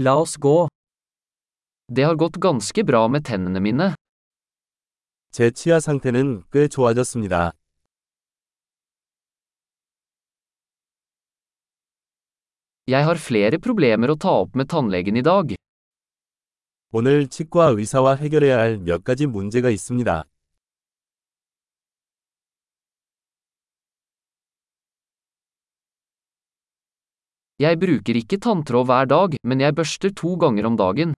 La oss gå. Det har gått ganske bra med tennene mine. 제 치아 상태는 꽤 좋아졌습니다. Jeg har flere problemer å ta opp med tannlegen i dag. 오늘 치과 의사와 해결해야 할 몇 가지 문제가 있습니다. Jeg bruker ikke tanntråd hver dag, men jeg børster to ganger om dagen.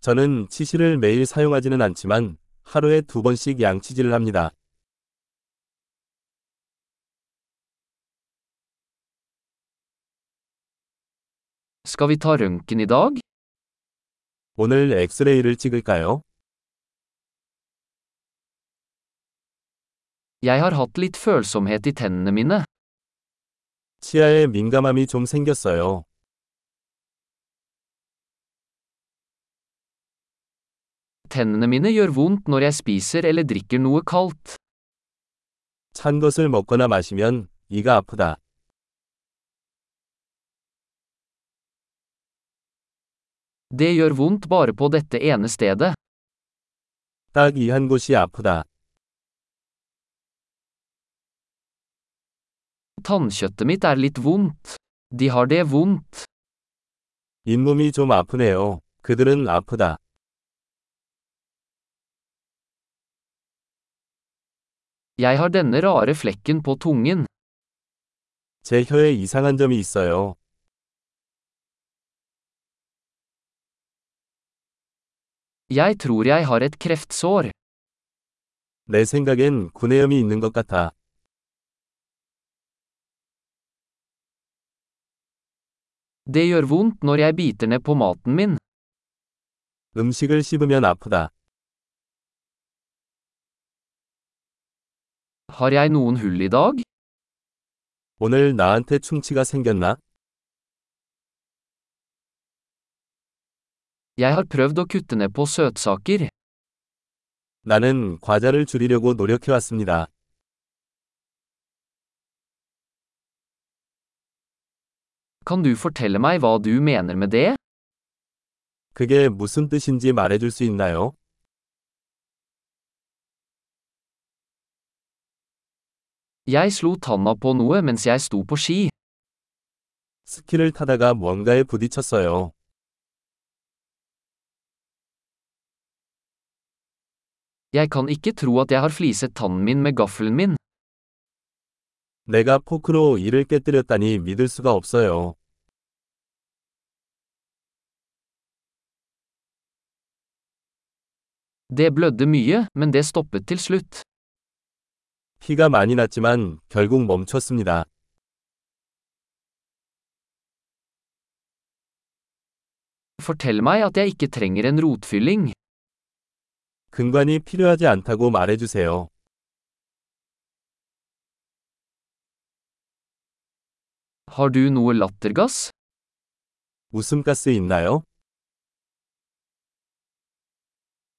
저는 치실을 매일 사용하지는 않지만 하루에 두 번씩 양치질을 합니다. Skal vi ta røntgen i dag? 오늘 엑스레이를 찍을까요? Jeg har hatt litt følsomhet i tennene mine. 치아에 민감함이 좀 생겼어요. Tennene mine gjør vondt når jeg spiser eller drikker noe kaldt. 찬 것을 먹거나 마시면 이가 아프다. Det gjør vondt bare på dette ene stedet. 딱 이 한 곳이 아프다. Tannkjøttet mitt er litt vondt. De har det vondt. 잇몸이 좀 아프네요. 그들은 아프다. Jeg har denne rare flekken på tungen. 제 혀에 이상한 점이 있어요. Jeg tror jeg har et kreftsår. 내 생각엔 구내염이 있는 것 같아. Det gjør vondt når jeg biter ned på maten min. 음식을 씹으면 아프다. Har jeg noen hull i dag? 오늘 나한테 충치가 생겼나? Jeg har prøvd å kutte ned på søtsaker. 나는 과자를 줄이려고 노력해왔습니다. Kan du fortelle meg hva du mener med det? 그게 무슨 뜻인지 말해줄 수 있나요? Jeg slo tanna på noe mens jeg sto på ski. 스키를 타다가 뭔가에 부딪혔어요. Jeg kan ikke tro at jeg har fliset tannen min med gaffelen min. 내가 포크로 이를 깨뜨렸다니 믿을 수가 없어요. Det blødde mye, men det stoppet til slutt. 피가 많이 났지만 결국 멈췄습니다. Fortell meg at jeg ikke trenger en rotfylling. 근관이 필요하지 않다고 말해주세요. Har du noe lattergass? 웃음가스 있나요?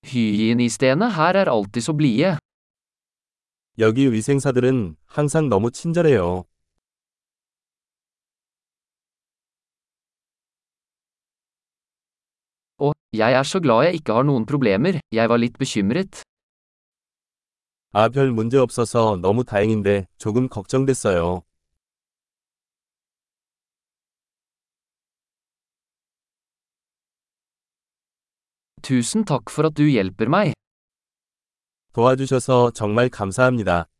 Hygienistene her er alltid så blide. 여기 위생사들은 항상 너무 친절해요. Og, jeg er så glad jeg ikke har noen problemer, jeg var litt bekymret. 아, 별 문제 없어서 너무 다행인데 조금 걱정됐어요. Tusen takk for at du hjelper meg. 도와주셔서 정말 감사합니다.